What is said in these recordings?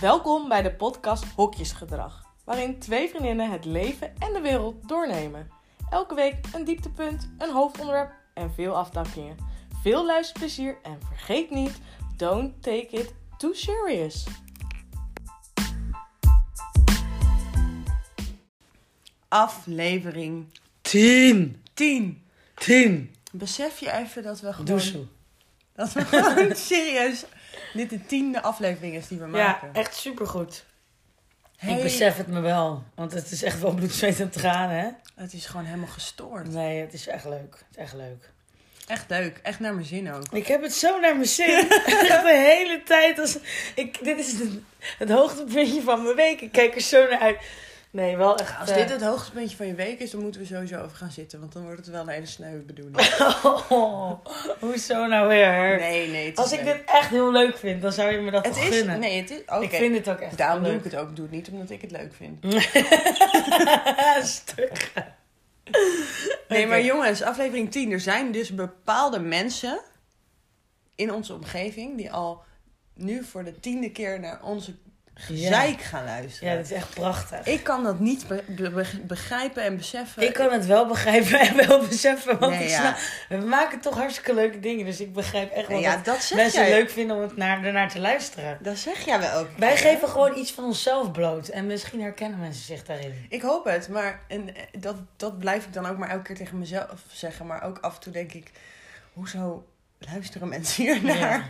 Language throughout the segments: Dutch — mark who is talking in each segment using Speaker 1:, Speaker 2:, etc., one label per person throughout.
Speaker 1: Welkom bij de podcast Hokjesgedrag, waarin twee vriendinnen het leven en de wereld doornemen. Elke week een dieptepunt, een hoofdonderwerp en veel afdakkingen. Veel luisterplezier en vergeet niet, don't take it too serious.
Speaker 2: Aflevering
Speaker 3: Tien.
Speaker 2: 10.
Speaker 3: Tien.
Speaker 2: Besef je even dat we gewoon,
Speaker 3: Doe zo.
Speaker 2: dat we gewoon serieus dit de tiende aflevering is die we maken.
Speaker 3: echt supergoed. Ik
Speaker 2: Hey,
Speaker 3: besef het me wel. Want het is echt wel bloed, zweet en tranen, hè?
Speaker 2: Het is gewoon helemaal gestoord.
Speaker 3: Nee, het is echt leuk. Het is echt leuk.
Speaker 2: Echt leuk, echt naar mijn zin ook.
Speaker 3: Ik heb het zo naar mijn zin. echt de hele tijd. Als ik, dit is het, het hoogtepuntje van mijn week. Ik kijk er zo naar uit. Nee, wel echt.
Speaker 2: Als
Speaker 3: eh,
Speaker 2: dit het hoogtepuntje van je week is, dan moeten we sowieso over gaan zitten. Want dan wordt het wel een hele sneu bedoeling.
Speaker 3: Oh, hoezo nou weer?
Speaker 2: Nee, nee, het is
Speaker 3: Als ik
Speaker 2: leuk.
Speaker 3: dit echt heel leuk vind, dan zou je me dat
Speaker 2: Het
Speaker 3: wel
Speaker 2: is...
Speaker 3: gunnen.
Speaker 2: Nee, het is... Oké,
Speaker 3: Ik vind het ook echt
Speaker 2: daarom doe
Speaker 3: leuk.
Speaker 2: ik het ook. Ik doe het niet omdat ik het leuk vind.
Speaker 3: Stuk.
Speaker 2: Nee,
Speaker 3: Oké.
Speaker 2: maar jongens, aflevering 10. Er zijn dus bepaalde mensen in onze omgeving die al nu voor de tiende keer naar onze gezeik gaan luisteren.
Speaker 3: Ja, dat is echt prachtig.
Speaker 2: Ik kan dat niet be- be- be- begrijpen en beseffen.
Speaker 3: Ik kan het wel begrijpen en wel beseffen. Want
Speaker 2: Nee,
Speaker 3: ik
Speaker 2: ja.
Speaker 3: snap- we maken toch hartstikke leuke dingen. Dus ik begrijp echt wel
Speaker 2: Nee, ja,
Speaker 3: dat
Speaker 2: dat zeg
Speaker 3: mensen
Speaker 2: jij.
Speaker 3: leuk vinden om het naar, ernaar te luisteren.
Speaker 2: Dat zeg jij wel ook.
Speaker 3: Wij geven gewoon iets van onszelf bloot. En misschien herkennen mensen zich daarin.
Speaker 2: Ik hoop het, maar en, eh, dat, dat blijf ik dan ook maar elke keer tegen mezelf zeggen. Maar ook af en toe denk ik, hoezo luisteren mensen hiernaar?
Speaker 3: Ja.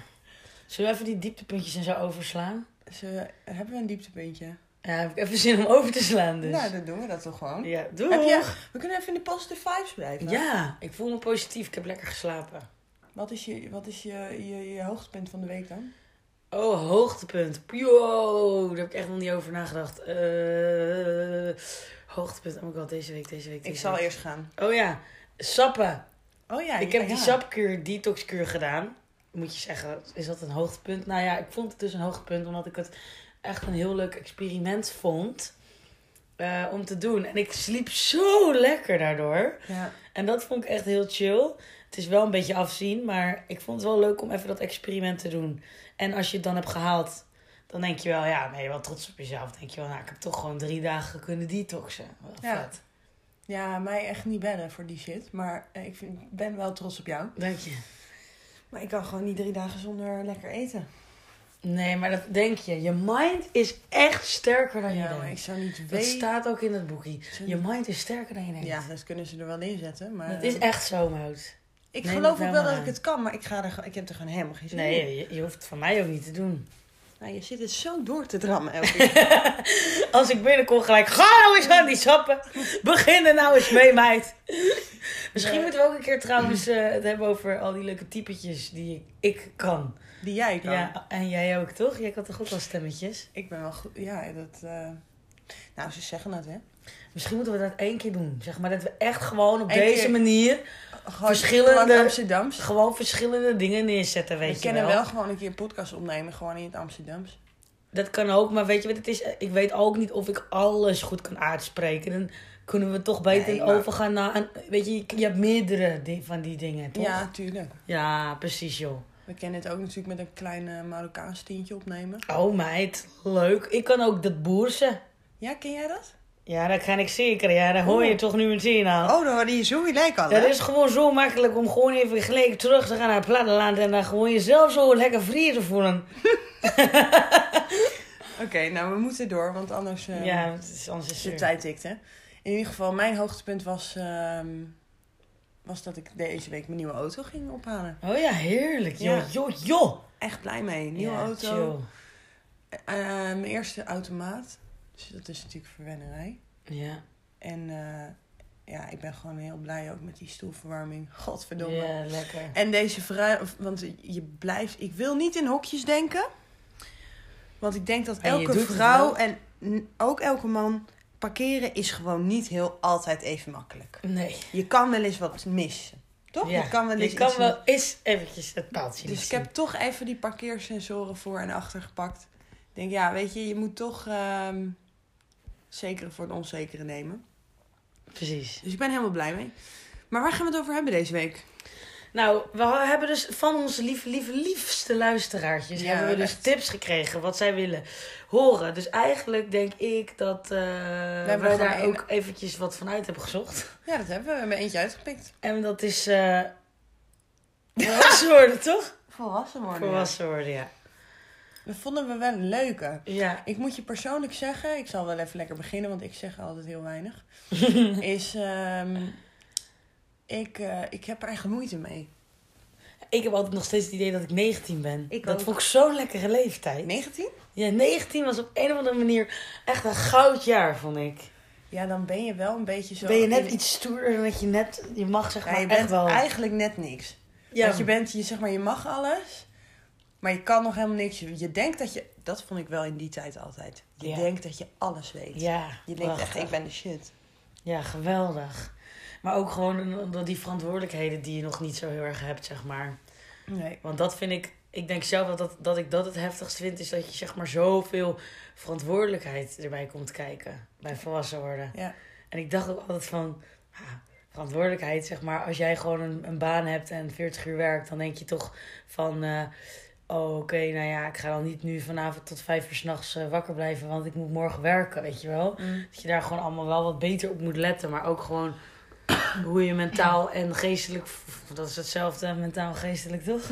Speaker 3: Zullen we even die dieptepuntjes en zo overslaan?
Speaker 2: Ze, hebben we een dieptepuntje?
Speaker 3: Ja, heb ik even zin om over te slaan dus.
Speaker 2: Nou, dan doen we dat toch gewoon.
Speaker 3: ja, doe.
Speaker 2: Heb je, we kunnen even in de positive vibes blijven.
Speaker 3: Ja, ik voel me positief. Ik heb lekker geslapen.
Speaker 2: Wat is je, wat is je, je, je hoogtepunt van de week dan?
Speaker 3: Oh, hoogtepunt. Yo, daar heb ik echt nog niet over nagedacht. Eh, hoogtepunt. Oh my god, deze week, deze week, deze
Speaker 2: Ik zal
Speaker 3: week.
Speaker 2: eerst gaan.
Speaker 3: Oh ja, sappen.
Speaker 2: Oh ja,
Speaker 3: ik heb die sapkuur, detoxkuur gedaan. Moet je zeggen, is dat een hoogtepunt? Nou ja, ik vond het dus een hoogtepunt omdat ik het echt een heel leuk experiment vond eh, om te doen. En ik sliep zo lekker daardoor.
Speaker 2: Ja.
Speaker 3: En dat vond ik echt heel chill. Het is wel een beetje afzien, maar ik vond het wel leuk om even dat experiment te doen. En als je het dan hebt gehaald, dan denk je wel, ja, ben je wel trots op jezelf. Denk je wel, nou, ik heb toch gewoon drie dagen kunnen detoxen. Wel
Speaker 2: Ja.
Speaker 3: vet.
Speaker 2: ja, mij echt niet bellen voor die shit. Maar eh, ik vind- ik ben wel trots op jou.
Speaker 3: Dank je.
Speaker 2: Maar ik kan gewoon niet drie dagen zonder lekker eten.
Speaker 3: Nee, maar dat denk je. Je mind is echt sterker dan je
Speaker 2: Ja,
Speaker 3: denkt.
Speaker 2: maar ik zou niet
Speaker 3: Dat
Speaker 2: weten.
Speaker 3: staat ook in het boekie. Je mind is sterker dan je denkt.
Speaker 2: Ja, dat kunnen ze er wel inzetten. Maar
Speaker 3: Dat is
Speaker 2: eh,
Speaker 3: echt zo, Mout.
Speaker 2: ik
Speaker 3: neem
Speaker 2: geloof
Speaker 3: het
Speaker 2: ook wel
Speaker 3: wel
Speaker 2: dat
Speaker 3: aan.
Speaker 2: ik het kan, maar ik, ga er, gewoon- ik heb er gewoon helemaal geen zin in.
Speaker 3: Nee, je, je hoeft het van mij ook niet te doen.
Speaker 2: Nou, je zit het zo door te drammen elke keer.
Speaker 3: Als ik binnenkom gelijk, ga nou eens aan die sappen. Begin er nou eens mee, meid. Misschien
Speaker 2: Nee.
Speaker 3: moeten we ook een keer trouwens eh, het hebben over al die leuke typetjes die ik, ik kan.
Speaker 2: Die jij kan.
Speaker 3: Ja, en jij ook, toch? Jij kan toch ook wel stemmetjes?
Speaker 2: Ik ben wel goed. Ja, dat. eh, Nou, ze zeggen dat, hè?
Speaker 3: Misschien moeten we dat één keer doen. Zeg maar dat we echt gewoon op
Speaker 2: Eén
Speaker 3: deze
Speaker 2: keer.
Speaker 3: manier
Speaker 2: Gewoon
Speaker 3: Verschillende-
Speaker 2: gewoon Amsterdams.
Speaker 3: gewoon verschillende dingen neerzetten, weet
Speaker 2: We
Speaker 3: je
Speaker 2: kennen
Speaker 3: wel.
Speaker 2: wel gewoon een keer een podcast opnemen, gewoon in het Amsterdams.
Speaker 3: Dat kan ook, maar weet je wat het is? Ik weet ook niet of ik alles goed kan uitspreken. Dan kunnen we toch beter
Speaker 2: Nee, maar-
Speaker 3: overgaan naar... een- weet je, je hebt meerdere di- van die dingen, toch?
Speaker 2: Ja, tuurlijk.
Speaker 3: Ja, precies joh.
Speaker 2: We kennen het ook natuurlijk met een klein eh, Marokkaans tientje opnemen.
Speaker 3: Oh meid, leuk. Ik kan ook dat boersen.
Speaker 2: Ja, ken jij dat?
Speaker 3: Ja, dat kan ik zeker. Ja, daar hoor je
Speaker 2: Oeh.
Speaker 3: toch nu meteen aan.
Speaker 2: Oh, dan hadden je zo gelijk al,
Speaker 3: Dat is gewoon zo makkelijk om gewoon even gelijk terug te gaan naar het platteland en dan gewoon jezelf zo lekker vrij te voelen.
Speaker 2: Oké, nou, we moeten door, want anders eh,
Speaker 3: ja, het is anders is
Speaker 2: de
Speaker 3: zuur.
Speaker 2: tijd tikt, hè. In ieder geval, mijn hoogtepunt was, ehm, was dat ik deze week mijn nieuwe auto ging ophalen.
Speaker 3: Oh ja, heerlijk. joh,
Speaker 2: Ja.
Speaker 3: joh, joh.
Speaker 2: Echt blij mee. Nieuwe
Speaker 3: Ja,
Speaker 2: auto. Eh, mijn eerste automaat. Dus dat is natuurlijk verwennerij.
Speaker 3: chill. Ja.
Speaker 2: En eh, ja, ik ben gewoon heel blij ook met die stoelverwarming. Godverdomme.
Speaker 3: ja, lekker.
Speaker 2: En deze vrij, of- want je blijft, ik wil niet in hokjes denken. Want ik denk dat
Speaker 3: En je
Speaker 2: elke
Speaker 3: doet het
Speaker 2: vrouw
Speaker 3: wel.
Speaker 2: en n- ook elke man parkeren is gewoon niet heel altijd even makkelijk.
Speaker 3: Nee.
Speaker 2: Je kan wel eens wat missen, toch?
Speaker 3: Ja,
Speaker 2: Je kan wel eens
Speaker 3: Je kan
Speaker 2: iets
Speaker 3: wel eens eventjes het paaltje
Speaker 2: Dus ik
Speaker 3: missen.
Speaker 2: heb toch even die parkeersensoren voor en achter gepakt. Ik denk, ja, weet je, je moet toch ehm zekere voor het onzekere nemen.
Speaker 3: Precies.
Speaker 2: Dus ik ben helemaal blij mee. Maar waar gaan we het over hebben deze week?
Speaker 3: Nou, we ha- hebben dus van onze lieve, lieve, liefste luisteraartjes...
Speaker 2: Ja,
Speaker 3: hebben we dus
Speaker 2: echt.
Speaker 3: tips gekregen wat zij willen horen. Dus eigenlijk denk ik dat eh
Speaker 2: hebben
Speaker 3: wij
Speaker 2: gewoon
Speaker 3: daar
Speaker 2: een-
Speaker 3: ook eventjes wat van uit hebben gezocht.
Speaker 2: Ja, dat hebben we. We hebben eentje uitgepikt.
Speaker 3: En dat is... eh volwassen worden, toch?
Speaker 2: Volwassen worden.
Speaker 3: Volwassen worden, ja.
Speaker 2: Dat vonden we wel een leuke.
Speaker 3: Ja.
Speaker 2: Ik moet je persoonlijk zeggen, ik zal wel even lekker beginnen, want ik zeg altijd heel weinig. is, ehm, ik, eh, ik heb er echt moeite mee.
Speaker 3: Ik heb altijd nog steeds het idee dat ik 19 ben.
Speaker 2: Ik
Speaker 3: dat
Speaker 2: ook.
Speaker 3: vond ik zo'n lekkere leeftijd.
Speaker 2: 19?
Speaker 3: Ja, 19 was op een of andere manier echt een goudjaar, vond ik.
Speaker 2: Ja, dan ben je wel een beetje zo...
Speaker 3: ben je net
Speaker 2: in-
Speaker 3: iets stoerder dan dat je net... Je mag zeg
Speaker 2: Ja,
Speaker 3: maar
Speaker 2: je
Speaker 3: echt
Speaker 2: bent
Speaker 3: wel...
Speaker 2: eigenlijk net niks.
Speaker 3: ja,
Speaker 2: Want je bent, je, zeg maar, je mag alles, maar je kan nog helemaal niks. Je, je denkt dat je, dat vond ik wel in die tijd altijd. Je
Speaker 3: Ja.
Speaker 2: denkt dat je alles weet.
Speaker 3: ja,
Speaker 2: Je denkt echt,
Speaker 3: prachtig.
Speaker 2: ik ben de shit.
Speaker 3: Ja, geweldig. Maar ook gewoon een- door die verantwoordelijkheden die je nog niet zo heel erg hebt, zeg maar.
Speaker 2: Nee.
Speaker 3: Want dat vind ik... Ik denk zelf dat, dat, dat ik dat het heftigst vind, is dat je zeg maar zoveel verantwoordelijkheid erbij komt kijken. Bij volwassen worden.
Speaker 2: Ja.
Speaker 3: En ik dacht ook altijd van, ah, verantwoordelijkheid zeg maar. Als jij gewoon een, een baan hebt en 40 uur werkt, dan denk je toch van, eh, oh, oké, nou ja, ik ga dan niet nu vanavond tot vijf uur s'nachts nachts eh, wakker blijven, want ik moet morgen werken, weet je wel. Dat je daar gewoon allemaal wel wat beter op moet letten, maar ook gewoon hoe je mentaal en geestelijk, dat is hetzelfde, mentaal en geestelijk toch?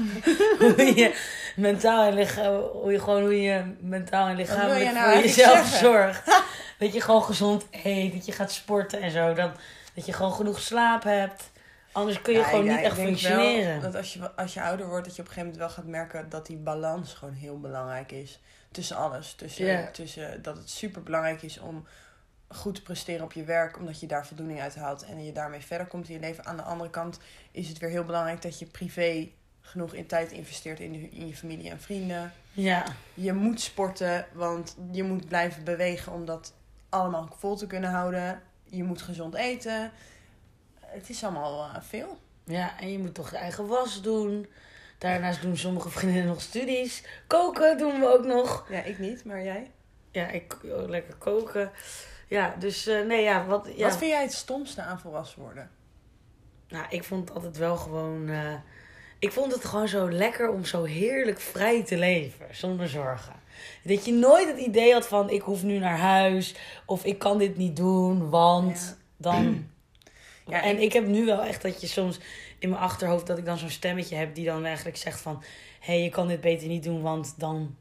Speaker 3: hoe je mentaal en lichaam, hoe je gewoon hoe je mentaal en lichamelijk
Speaker 2: nou
Speaker 3: voor
Speaker 2: eigenlijk
Speaker 3: jezelf
Speaker 2: zeggen?
Speaker 3: zorgt. Dat je gewoon gezond eet, dat je gaat sporten en zo. Dan, dat je gewoon genoeg slaap hebt. Anders kun je
Speaker 2: Ja,
Speaker 3: gewoon
Speaker 2: ja,
Speaker 3: niet
Speaker 2: ik
Speaker 3: echt
Speaker 2: denk wel
Speaker 3: functioneren.
Speaker 2: dat als je, als je ouder wordt, dat je op een gegeven moment wel gaat merken dat die balans gewoon heel belangrijk is. Tussen alles. Tussen,
Speaker 3: Ja.
Speaker 2: tussen dat het super belangrijk is om goed te presteren op je werk, omdat je daar voldoening uit haalt en je daarmee verder komt in je leven. Aan de andere kant is het weer heel belangrijk dat je privé genoeg in tijd investeert in, je- in je familie en vrienden.
Speaker 3: Ja,
Speaker 2: Je moet sporten, want je moet blijven bewegen om dat allemaal vol te kunnen houden. Je moet gezond eten. Het is allemaal eh, veel.
Speaker 3: ja, en je moet toch je eigen was doen. Daarnaast doen sommige vriendinnen nog studies. Koken doen we ook nog.
Speaker 2: Ja, ik niet, maar jij?
Speaker 3: Ja, ik oh, lekker koken. Ja, dus eh, nee, ja, wat... Ja.
Speaker 2: Wat vind jij het stomste aan volwassen worden?
Speaker 3: Nou, ik vond het altijd wel gewoon. eh, ik vond het gewoon zo lekker om zo heerlijk vrij te leven, zonder zorgen. Dat je nooit het idee had van: ik hoef nu naar huis of ik kan dit niet doen, want
Speaker 2: Ja.
Speaker 3: dan.
Speaker 2: Ja,
Speaker 3: en ik heb nu wel echt dat je soms in mijn achterhoofd dat ik dan zo'n stemmetje heb die dan eigenlijk zegt van: hé, hey, je kan dit beter niet doen, want dan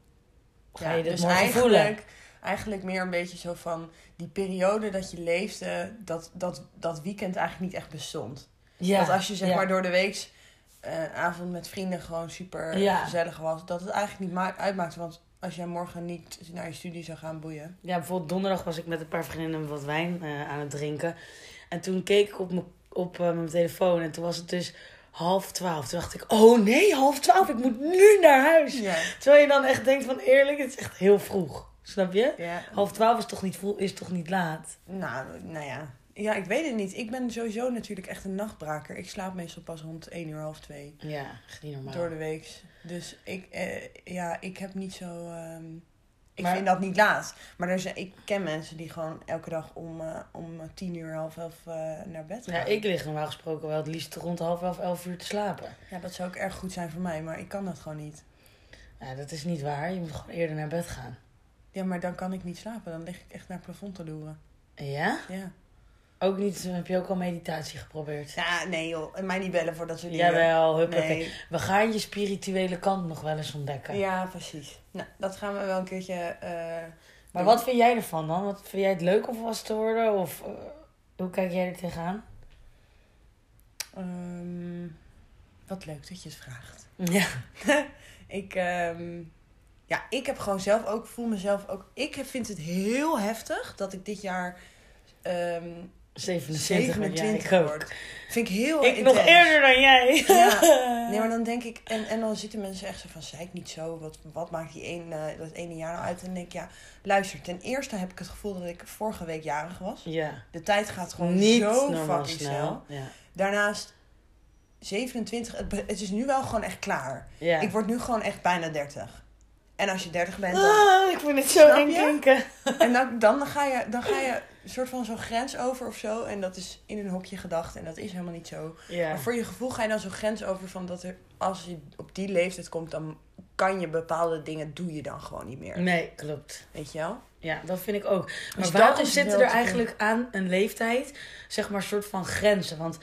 Speaker 3: ga je dit
Speaker 2: dus
Speaker 3: morgen
Speaker 2: eigenlijk,
Speaker 3: voelen.
Speaker 2: eigenlijk meer een beetje zo van die periode dat je leefde, dat, dat, dat weekend eigenlijk niet echt bestond.
Speaker 3: Ja,
Speaker 2: dat als je zeg
Speaker 3: ja.
Speaker 2: maar door de week een avond met vrienden gewoon super
Speaker 3: Ja.
Speaker 2: gezellig was, dat het eigenlijk niet ma- uitmaakte. Want als jij morgen niet naar je studie zou gaan boeien.
Speaker 3: Ja, bijvoorbeeld donderdag was ik met een paar vriendinnen wat wijn eh, aan het drinken. En toen keek ik op, mijn- op eh, mijn telefoon en toen was het dus half twaalf. Toen dacht ik, oh nee, half twaalf, ik moet nu naar huis.
Speaker 2: Ja.
Speaker 3: Terwijl je dan echt denkt van eerlijk, het is echt heel vroeg. Snap je?
Speaker 2: ja.
Speaker 3: Half twaalf is toch niet, vroeg, is toch niet laat?
Speaker 2: Nou, nou ja. Ja, ik weet het niet. Ik ben sowieso natuurlijk echt een nachtbraker. Ik slaap meestal pas rond 1 uur, half 2.
Speaker 3: Ja, echt niet normaal.
Speaker 2: Door de week. Dus ik, eh, ja, ik heb niet zo. ehm, ik
Speaker 3: Maar-
Speaker 2: vind dat niet laat. Maar er zijn, ik ken mensen die gewoon elke dag om, eh, om tien uur, half elf eh, naar bed gaan.
Speaker 3: Ja, ik lig normaal gesproken wel het liefst rond half elf, elf uur te slapen.
Speaker 2: Ja, dat zou ook erg goed zijn voor mij, maar ik kan dat gewoon niet.
Speaker 3: Nou, dat is niet waar. Je moet gewoon eerder naar bed gaan.
Speaker 2: Ja, maar dan kan ik niet slapen. Dan lig ik echt naar het plafond te loeren.
Speaker 3: Ja?
Speaker 2: Ja.
Speaker 3: Ook niet, heb je ook al meditatie geprobeerd?
Speaker 2: Ja, nee joh. En mij niet bellen voordat we dingen-
Speaker 3: Jawel, huppakee.
Speaker 2: Nee.
Speaker 3: We gaan je spirituele kant nog wel eens ontdekken.
Speaker 2: Ja, precies. Nou, dat gaan we wel een keertje... eh,
Speaker 3: Maar
Speaker 2: doen.
Speaker 3: wat vind jij ervan dan? Wat, vind jij het leuk om was te worden? Of eh, hoe kijk jij er tegenaan?
Speaker 2: ehm, wat leuk dat je het vraagt.
Speaker 3: Ja.
Speaker 2: Ik, ehm, ja, ik heb gewoon zelf ook, voel mezelf ook. Ik vind het heel heftig dat ik dit jaar ehm
Speaker 3: 27,
Speaker 2: 27
Speaker 3: 27 ja, ik ook.
Speaker 2: word. Vind ik heel
Speaker 3: Ik nog
Speaker 2: Oh, intens.
Speaker 3: eerder dan jij.
Speaker 2: Ja. Nee, maar dan denk ik, en, en dan zitten mensen echt zo van, zei ik niet zo, wat, wat maakt die een, eh, dat ene jaar nou uit? En dan denk ik, ja, luister, ten eerste heb ik het gevoel dat ik vorige week jarig was.
Speaker 3: Ja.
Speaker 2: De tijd gaat gewoon
Speaker 3: Niet
Speaker 2: zo
Speaker 3: normaal
Speaker 2: fucking
Speaker 3: snel.
Speaker 2: snel.
Speaker 3: Ja.
Speaker 2: Daarnaast, 27, het, be- het is nu wel gewoon echt klaar.
Speaker 3: Ja.
Speaker 2: Ik word nu gewoon echt bijna 30. En als je 30 bent, dan,
Speaker 3: Ah, ik vind het zo
Speaker 2: Snap
Speaker 3: eng
Speaker 2: je?
Speaker 3: klinken.
Speaker 2: en dan, dan, ga je, dan ga je een soort van zo'n grens over of zo. En dat is in een hokje gedacht. En dat is helemaal niet zo.
Speaker 3: Ja.
Speaker 2: Maar voor je gevoel ga je dan zo'n grens over van dat er, als je op die leeftijd komt, dan kan je bepaalde dingen, doe je dan gewoon niet meer.
Speaker 3: Nee, klopt.
Speaker 2: Weet je wel?
Speaker 3: Ja, dat vind ik ook. Maar
Speaker 2: Dus dat
Speaker 3: waarom
Speaker 2: is
Speaker 3: zitten
Speaker 2: wel
Speaker 3: er
Speaker 2: te
Speaker 3: eigenlijk aan een leeftijd, zeg maar, soort van grenzen? Want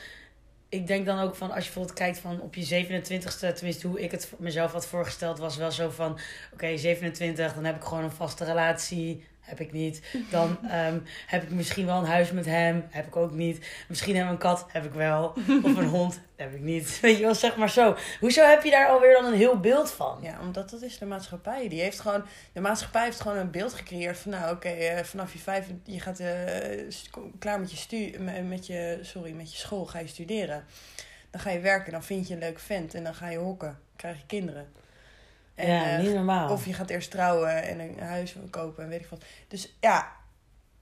Speaker 3: ik denk dan ook van, als je bijvoorbeeld kijkt van op je 27ste, tenminste hoe ik het voor mezelf had voorgesteld, was wel zo van, oké, 27, dan heb ik gewoon een vaste relatie. Heb ik niet. Dan ehm, heb ik misschien wel een huis met hem. Heb ik ook niet. Misschien heb ik een kat. Heb ik wel. Of een hond. Heb ik niet. Weet je wel, zeg maar zo. Hoezo heb je daar alweer dan een heel beeld van?
Speaker 2: Ja, omdat dat is de maatschappij. Die heeft gewoon, de maatschappij heeft gewoon een beeld gecreëerd van, nou oké, eh, vanaf je vijf, je gaat eh, st- klaar met je, stu me- met je, sorry, met je school, ga je studeren. Dan ga je werken, dan vind je een leuk vent en dan ga je hokken, krijg je kinderen. En,
Speaker 3: ja,
Speaker 2: eh,
Speaker 3: niet normaal.
Speaker 2: Of je gaat eerst trouwen en een huis kopen en weet ik wat. Dus ja,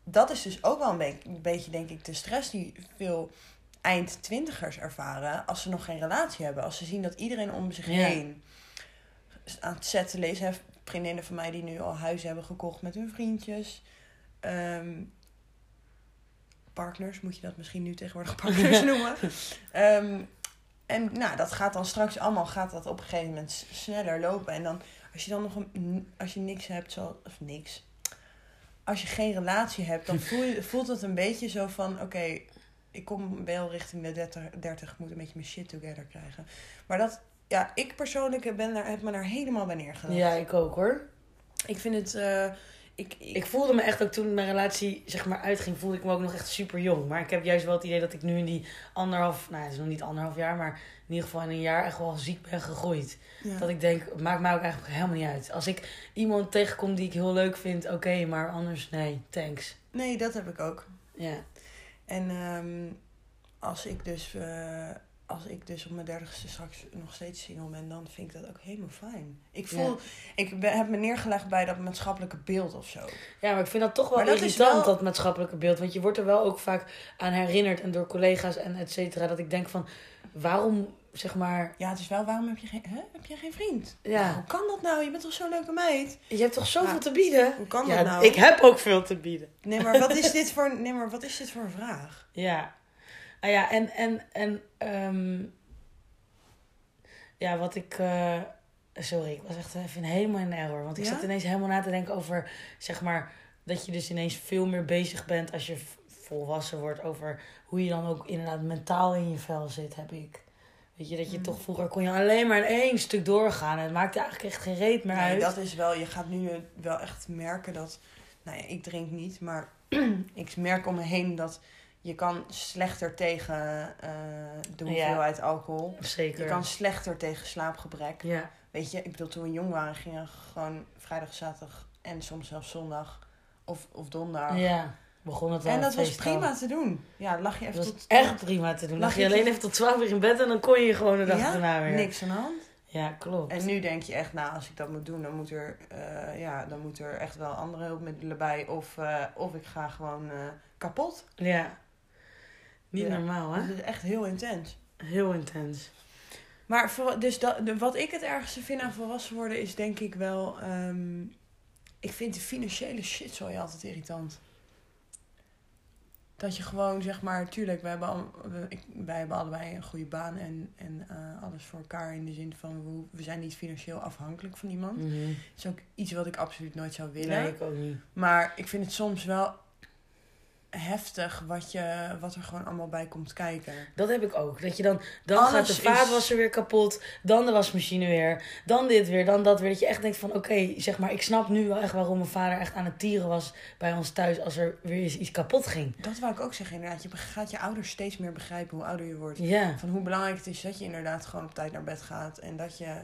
Speaker 2: dat is dus ook wel een, be- een beetje, denk ik, de stress die veel eind twintigers ervaren als ze nog geen relatie hebben. Als ze zien dat iedereen om zich
Speaker 3: Ja.
Speaker 2: heen aan het zetten lezen. Hè, Vriendinnen van mij die nu al huizen hebben gekocht met hun vriendjes. Ehm, partners, moet je dat misschien nu tegenwoordig partners noemen. Ehm, en nou, dat gaat dan straks allemaal gaat dat op een gegeven moment s- sneller lopen. En dan als je dan nog een, als je niks hebt, zo, of niks. Als je geen relatie hebt, dan voel je, voelt het een beetje zo van: oké, ik kom wel richting de 30, 30, ik moet een beetje mijn shit together krijgen. Maar dat, ja, ik persoonlijk ben daar, heb me daar helemaal bij neergelegd.
Speaker 3: Ja, ik ook hoor.
Speaker 2: Ik vind het, eh, ik, ik,
Speaker 3: Ik voelde me echt ook toen mijn relatie zeg maar uitging, voelde ik me ook nog echt super jong. Maar ik heb juist wel het idee dat ik nu in die anderhalf, nou het is nog niet anderhalf jaar, maar in ieder geval in een jaar echt wel ziek ben gegroeid.
Speaker 2: ja.
Speaker 3: Dat ik denk, het maakt mij ook eigenlijk helemaal niet uit. Als ik iemand tegenkom die ik heel leuk vind, oké, maar anders nee, thanks.
Speaker 2: nee, dat heb ik ook.
Speaker 3: Ja,
Speaker 2: En ehm, als ik dus, eh, als ik dus op mijn dertigste straks nog steeds single ben, dan vind ik dat ook helemaal fijn. Ik voel,
Speaker 3: Ja.
Speaker 2: ik ben, heb me neergelegd bij dat maatschappelijke beeld of zo.
Speaker 3: ja maar ik vind dat toch wel
Speaker 2: Maar dat is
Speaker 3: irritant,
Speaker 2: wel-
Speaker 3: dat maatschappelijke beeld. Want je wordt er wel ook vaak aan herinnerd en door collega's en et cetera. Dat ik denk van, waarom zeg maar,
Speaker 2: Ja, het is wel, waarom heb je geen, hè? Heb je geen vriend?
Speaker 3: ja,
Speaker 2: Hoe kan dat nou? Je bent toch zo'n leuke meid?
Speaker 3: je hebt toch zoveel
Speaker 2: Ja.
Speaker 3: te bieden?
Speaker 2: Hoe kan
Speaker 3: ah. Ja,
Speaker 2: dat nou?
Speaker 3: ik heb ook veel te bieden.
Speaker 2: Nee, maar wat is dit voor, nee, maar wat is dit voor een vraag?
Speaker 3: Ja. Ah ja, en, en, en ehm, ja, wat ik, eh, sorry, ik was echt even helemaal in error. Want ik
Speaker 2: Ja?
Speaker 3: zat ineens helemaal na te denken over, zeg maar, dat je dus ineens veel meer bezig bent als je v- volwassen wordt over hoe je dan ook inderdaad mentaal in je vel zit, heb ik. Weet je, dat
Speaker 2: Hmm.
Speaker 3: je toch vroeger kon je alleen maar in één stuk doorgaan. En het maakte eigenlijk echt geen reet meer
Speaker 2: Nee,
Speaker 3: uit.
Speaker 2: dat is wel, je gaat nu eh, wel echt merken dat, nou ja, ik drink niet, maar ik merk om me heen dat je kan slechter tegen eh, de
Speaker 3: Ja.
Speaker 2: hoeveelheid alcohol.
Speaker 3: Zeker.
Speaker 2: Je kan slechter tegen slaapgebrek.
Speaker 3: Ja,
Speaker 2: Weet je, ik bedoel, toen we jong waren, gingen we gewoon vrijdag, zaterdag en soms zelfs zondag of, of donderdag.
Speaker 3: ja. Begon het al
Speaker 2: En dat
Speaker 3: het
Speaker 2: was
Speaker 3: feest al.
Speaker 2: prima te doen. Ja, lag je
Speaker 3: Dat
Speaker 2: even
Speaker 3: was
Speaker 2: tot...
Speaker 3: echt prima te doen.
Speaker 2: Lag
Speaker 3: Lag je
Speaker 2: ik-
Speaker 3: alleen even tot 12 uur in bed en dan kon je gewoon de dag
Speaker 2: Ja?
Speaker 3: erna weer.
Speaker 2: niks aan de hand.
Speaker 3: Ja, klopt.
Speaker 2: En nu denk je echt, nou, als ik dat moet doen, dan moet er, eh, ja, dan moet er echt wel andere hulpmiddelen bij. Of, eh, of ik ga gewoon eh, kapot.
Speaker 3: Ja. Niet
Speaker 2: Ja.
Speaker 3: normaal, hè?
Speaker 2: Dat is echt heel intens.
Speaker 3: Heel intens.
Speaker 2: Maar voor, dus dat, de- wat ik het ergste vind aan volwassen worden is denk ik wel... ehm, ik vind de financiële shit zo altijd irritant. Dat je gewoon, zeg maar... Tuurlijk, wij hebben, al- we- ik- wij hebben allebei een goede baan en, en eh, alles voor elkaar. In de zin van, we, hoe- we zijn niet financieel afhankelijk van iemand. Dat is ook iets wat ik absoluut nooit zou willen.
Speaker 3: Mhm. Nee, ik ook niet.
Speaker 2: Maar ik vind het soms wel heftig wat, je, wat er gewoon allemaal bij komt kijken.
Speaker 3: Dat heb ik ook. Dat je dan, dan
Speaker 2: Alles
Speaker 3: gaat de
Speaker 2: is-
Speaker 3: vaatwasser weer kapot, dan de wasmachine weer, dan dit weer, dan dat weer. Dat je echt denkt van, oké, zeg maar, ik snap nu wel echt waarom mijn vader echt aan het tieren was bij ons thuis als er weer eens iets kapot ging.
Speaker 2: Dat wou ik ook zeggen, inderdaad. Je be- gaat je ouders steeds meer begrijpen hoe ouder je wordt.
Speaker 3: Ja.
Speaker 2: Van hoe belangrijk het is dat je inderdaad gewoon op tijd naar bed gaat. En dat je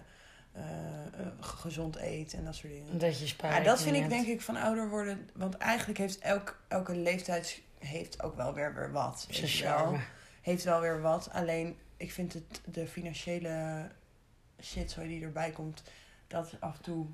Speaker 2: eh, eh, g- gezond eet en dat soort dingen.
Speaker 3: Dat je spaart.
Speaker 2: Ja, dat vind ik denk ik van ouder worden. Want eigenlijk heeft elk, elke leeftijd heeft ook wel weer, weer wat. weet
Speaker 3: Zijn
Speaker 2: je wel.
Speaker 3: charme.
Speaker 2: Heeft wel weer wat. Alleen ik vind het de financiële shit zo die erbij komt. Dat af en toe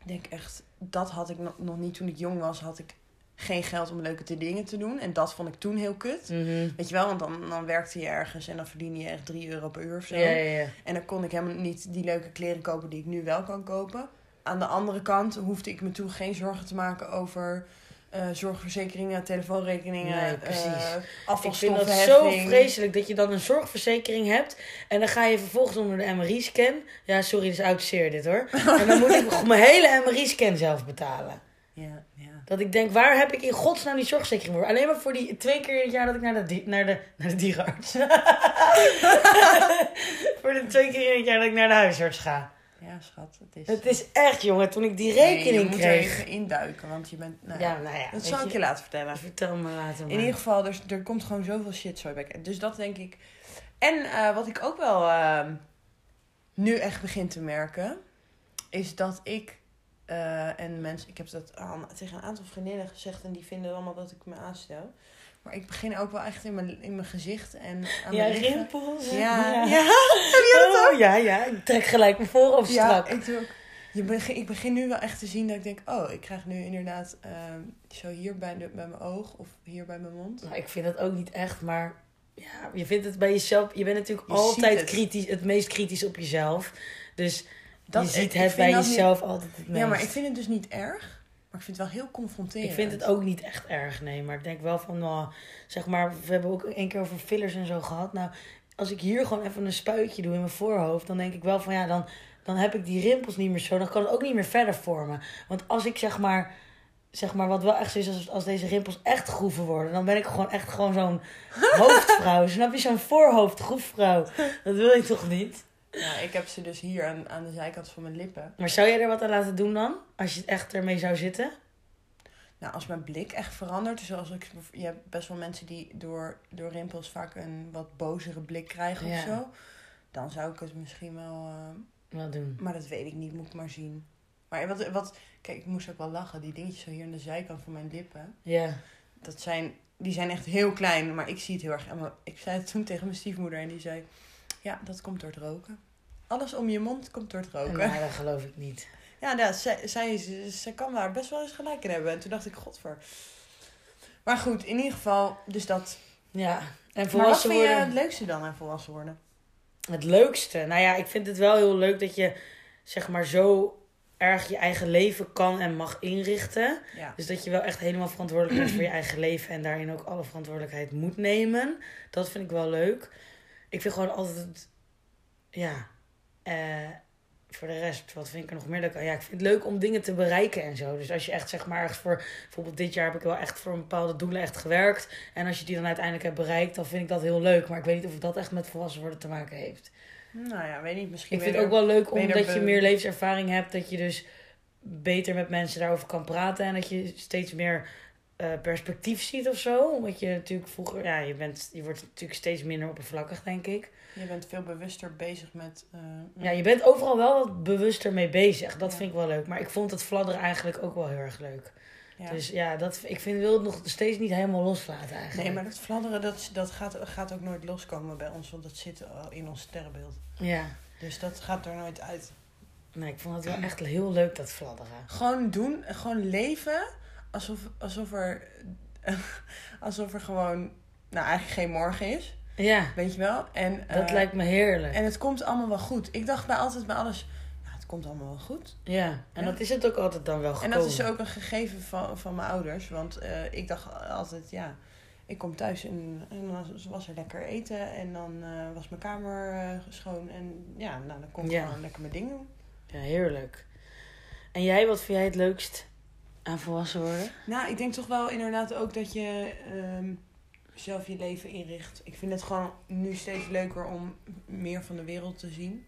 Speaker 2: ik denk echt, dat had ik no- nog niet toen ik jong was, had ik geen geld om leuke dingen te doen. En dat vond ik toen heel kut.
Speaker 3: Mhm.
Speaker 2: Weet je wel, want dan, dan werkte je ergens en dan verdiende je echt 3 euro per uur of zo.
Speaker 3: Ja, ja, ja.
Speaker 2: En dan kon ik helemaal niet die leuke kleren kopen die ik nu wel kan kopen. Aan de andere kant hoefde ik me toen geen zorgen te maken over eh, zorgverzekeringen, telefoonrekeningen,
Speaker 3: Nee, precies.
Speaker 2: eh,
Speaker 3: Ik vind dat zo
Speaker 2: afvalstoffenheffing.
Speaker 3: vreselijk dat je dan een zorgverzekering hebt. En dan ga je vervolgens onder de MRI-scan. Ja, sorry, dit is oud zeer dit hoor. En dan moet ik mijn hele MRI-scan zelf betalen.
Speaker 2: Ja, ja.
Speaker 3: Dat ik denk, waar heb ik in godsnaam die zorgverzekering voor? Alleen maar voor die twee keer in het jaar dat ik naar de, di- naar de, naar de dierenarts... voor de twee keer in het jaar dat ik naar de huisarts ga.
Speaker 2: ja, schat. Het is,
Speaker 3: Het is echt, jongen, toen ik die
Speaker 2: Nee, je
Speaker 3: rekening
Speaker 2: moet er
Speaker 3: kreeg.
Speaker 2: even induiken, want je bent... nou
Speaker 3: Ja, nou ja.
Speaker 2: dat
Speaker 3: weet
Speaker 2: zal ik je laten vertellen.
Speaker 3: Vertel me later maar.
Speaker 2: In ieder geval, er, er komt gewoon zoveel shit zo bij. kijken. Dus dat denk ik. En eh, wat ik ook wel ehm, nu echt begin te merken, is dat ik eh, en mensen, ik heb dat aan, tegen een aantal vriendinnen gezegd en die vinden allemaal dat ik me aanstel. Maar ik begin ook wel echt in mijn, in mijn gezicht en aan
Speaker 3: Ja,
Speaker 2: mijn lippen.
Speaker 3: rimpels. en-
Speaker 2: Ja, ja.
Speaker 3: Oh, ja, ja. Ik trek gelijk mijn voorhoofd
Speaker 2: ja
Speaker 3: strak.
Speaker 2: ik, doe ook- je begin, ik begin nu wel echt te zien dat ik denk, oh, ik krijg nu inderdaad ehm, zo hier bij, de, bij mijn oog of hier bij mijn mond.
Speaker 3: Nou, ik vind dat ook niet echt, maar ja, je vindt het bij jezelf. Je bent natuurlijk
Speaker 2: Je ziet
Speaker 3: altijd
Speaker 2: het.
Speaker 3: kritisch, het meest kritisch op jezelf. Dus
Speaker 2: Dat-
Speaker 3: je
Speaker 2: ik-
Speaker 3: ziet
Speaker 2: ik
Speaker 3: het
Speaker 2: vind
Speaker 3: bij
Speaker 2: dat niet-
Speaker 3: jezelf altijd het meest.
Speaker 2: Ja, maar ik vind het dus niet erg. Maar ik vind het wel heel confronterend.
Speaker 3: Ik vind het ook niet echt erg, nee. Maar ik denk wel van, nou, zeg maar, we hebben ook een keer over fillers en zo gehad. Nou, als ik hier gewoon even een spuitje doe in mijn voorhoofd, dan denk ik wel van, ja, dan, dan heb ik die rimpels niet meer zo. Dan kan het ook niet meer verder vormen. Want als ik zeg maar, zeg maar, wat wel echt zo is, als, als deze rimpels echt groeven worden, dan ben ik gewoon echt gewoon zo'n hoofdvrouw. Snap je, zo'n voorhoofdgroefvrouw. Dat wil je toch niet?
Speaker 2: Ja, ik heb ze dus hier aan, aan de zijkant van mijn lippen.
Speaker 3: Maar zou jij er wat aan laten doen dan? Als je echt ermee zou zitten?
Speaker 2: Nou, als mijn blik echt verandert. Dus als ik, je hebt best wel mensen die door, door rimpels vaak een wat bozere blik krijgen of
Speaker 3: Ja.
Speaker 2: zo. Dan zou ik het misschien wel... eh,
Speaker 3: Wel doen.
Speaker 2: maar dat weet ik niet, moet ik maar zien. Maar wat, wat... Kijk, ik moest ook wel lachen. Die dingetjes zo hier aan de zijkant van mijn lippen.
Speaker 3: Ja.
Speaker 2: Dat zijn, die zijn echt heel klein, maar ik zie het heel erg. En mijn- ik zei het toen tegen mijn stiefmoeder en die zei... Ja, dat komt door het roken. Alles om je mond komt door het roken.
Speaker 3: Nou, dat geloof ik niet.
Speaker 2: Ja, nou, zij, zij, zij kan daar best wel eens gelijk in hebben. En toen dacht ik, godver. Maar goed, in ieder geval, dus dat.
Speaker 3: Ja, en
Speaker 2: Maar wat
Speaker 3: volwassen
Speaker 2: vind je
Speaker 3: worden.
Speaker 2: het leukste dan aan volwassen worden?
Speaker 3: Het leukste. Nou ja, ik vind het wel heel leuk dat je zeg maar zo erg je eigen leven kan en mag inrichten.
Speaker 2: Ja.
Speaker 3: Dus dat je wel echt helemaal verantwoordelijk bent voor je eigen leven en daarin ook alle verantwoordelijkheid moet nemen. Dat vind ik wel leuk. Ik vind gewoon altijd, het- ja, eh, voor de rest, wat vind ik er nog meer leuk aan? Ja, ik vind het leuk om dingen te bereiken en zo. Dus als je echt zeg maar ergens voor, bijvoorbeeld dit jaar heb ik wel echt voor een bepaalde doelen echt gewerkt. En als je die dan uiteindelijk hebt bereikt, dan vind ik dat heel leuk. Maar ik weet niet of dat echt met volwassen worden te maken heeft.
Speaker 2: Nou ja, weet niet, misschien
Speaker 3: Ik vind
Speaker 2: ben
Speaker 3: het
Speaker 2: je
Speaker 3: ook wel leuk
Speaker 2: ben je
Speaker 3: omdat
Speaker 2: er
Speaker 3: je
Speaker 2: be-
Speaker 3: meer levenservaring hebt. Dat je dus beter met mensen daarover kan praten. En dat je steeds meer eh, perspectief ziet of zo. Omdat je natuurlijk vroeger... Ja, je, bent, je wordt natuurlijk steeds minder oppervlakkig, denk ik.
Speaker 2: er- Je bent veel bewuster bezig met... eh,
Speaker 3: Ja, je bent overal wel wat bewuster mee bezig. Dat
Speaker 2: Ja.
Speaker 3: vind ik wel leuk. Maar ik vond het fladderen eigenlijk ook wel heel erg leuk.
Speaker 2: ja.
Speaker 3: Dus ja, dat, ik vind, wil het nog steeds niet helemaal loslaten eigenlijk.
Speaker 2: Nee, maar dat fladderen, dat, dat gaat, gaat ook nooit loskomen bij ons. Want dat zit al in ons sterrenbeeld.
Speaker 3: Ja.
Speaker 2: Dus dat gaat er nooit uit.
Speaker 3: Nee, ik vond het wel echt heel leuk, dat fladderen.
Speaker 2: Gewoon doen, gewoon leven alsof, alsof er... alsof er gewoon... Nou, eigenlijk geen morgen is.
Speaker 3: Ja,
Speaker 2: Weet je wel? En,
Speaker 3: dat
Speaker 2: eh,
Speaker 3: lijkt me heerlijk.
Speaker 2: En het komt allemaal wel goed. Ik dacht bij altijd bij alles, nou, het komt allemaal wel goed.
Speaker 3: ja, en
Speaker 2: Ja.
Speaker 3: dat is het ook altijd dan wel
Speaker 2: En
Speaker 3: gekomen.
Speaker 2: dat is ook een gegeven van, van mijn ouders. Want eh, ik dacht altijd, ja, ik kom thuis en, en dan was- was er lekker eten. En dan eh, was mijn kamer eh, schoon. En ja, nou, dan kon ik
Speaker 3: Ja.
Speaker 2: gewoon lekker mijn ding doen.
Speaker 3: Ja, heerlijk. En jij, wat vind jij het leukst aan volwassen worden?
Speaker 2: Nou, ik denk toch wel inderdaad ook dat je ehm, zelf je leven inricht. Ik vind het gewoon nu steeds leuker om meer van de wereld te zien.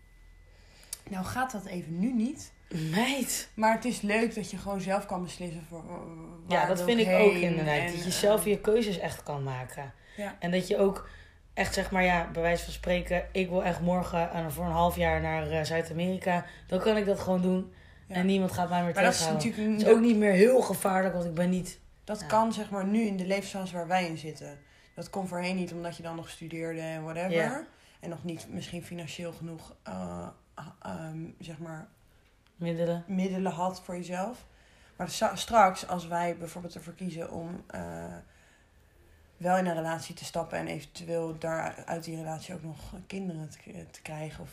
Speaker 2: Nou gaat dat even nu niet.
Speaker 3: Meid!
Speaker 2: Maar het is leuk dat je gewoon zelf kan beslissen voor eh, waar
Speaker 3: Ja, dat
Speaker 2: wil
Speaker 3: vind ik
Speaker 2: heen
Speaker 3: ook inderdaad.
Speaker 2: en,
Speaker 3: dat je
Speaker 2: eh,
Speaker 3: zelf je keuzes echt kan maken.
Speaker 2: Ja.
Speaker 3: En dat je ook echt zeg maar, ja, bij wijze van spreken... ik wil echt morgen eh, voor een half jaar naar eh, Zuid-Amerika. Dan kan ik dat gewoon doen.
Speaker 2: Ja.
Speaker 3: En niemand gaat mij meer
Speaker 2: Maar dat is
Speaker 3: tegenhouden.
Speaker 2: natuurlijk
Speaker 3: Het
Speaker 2: niet-
Speaker 3: is ook niet meer heel gevaarlijk, want ik ben niet...
Speaker 2: dat
Speaker 3: Ja.
Speaker 2: kan zeg maar nu in de levensfase waar wij in zitten. Dat kon voorheen niet omdat je dan nog studeerde en whatever.
Speaker 3: Ja.
Speaker 2: En nog niet misschien financieel genoeg eh, ah, ehm, zeg maar
Speaker 3: Middelen.
Speaker 2: middelen had voor jezelf. Maar za- straks, als wij bijvoorbeeld ervoor kiezen om eh, wel in een relatie te stappen en eventueel daar uit die relatie ook nog kinderen te, te krijgen of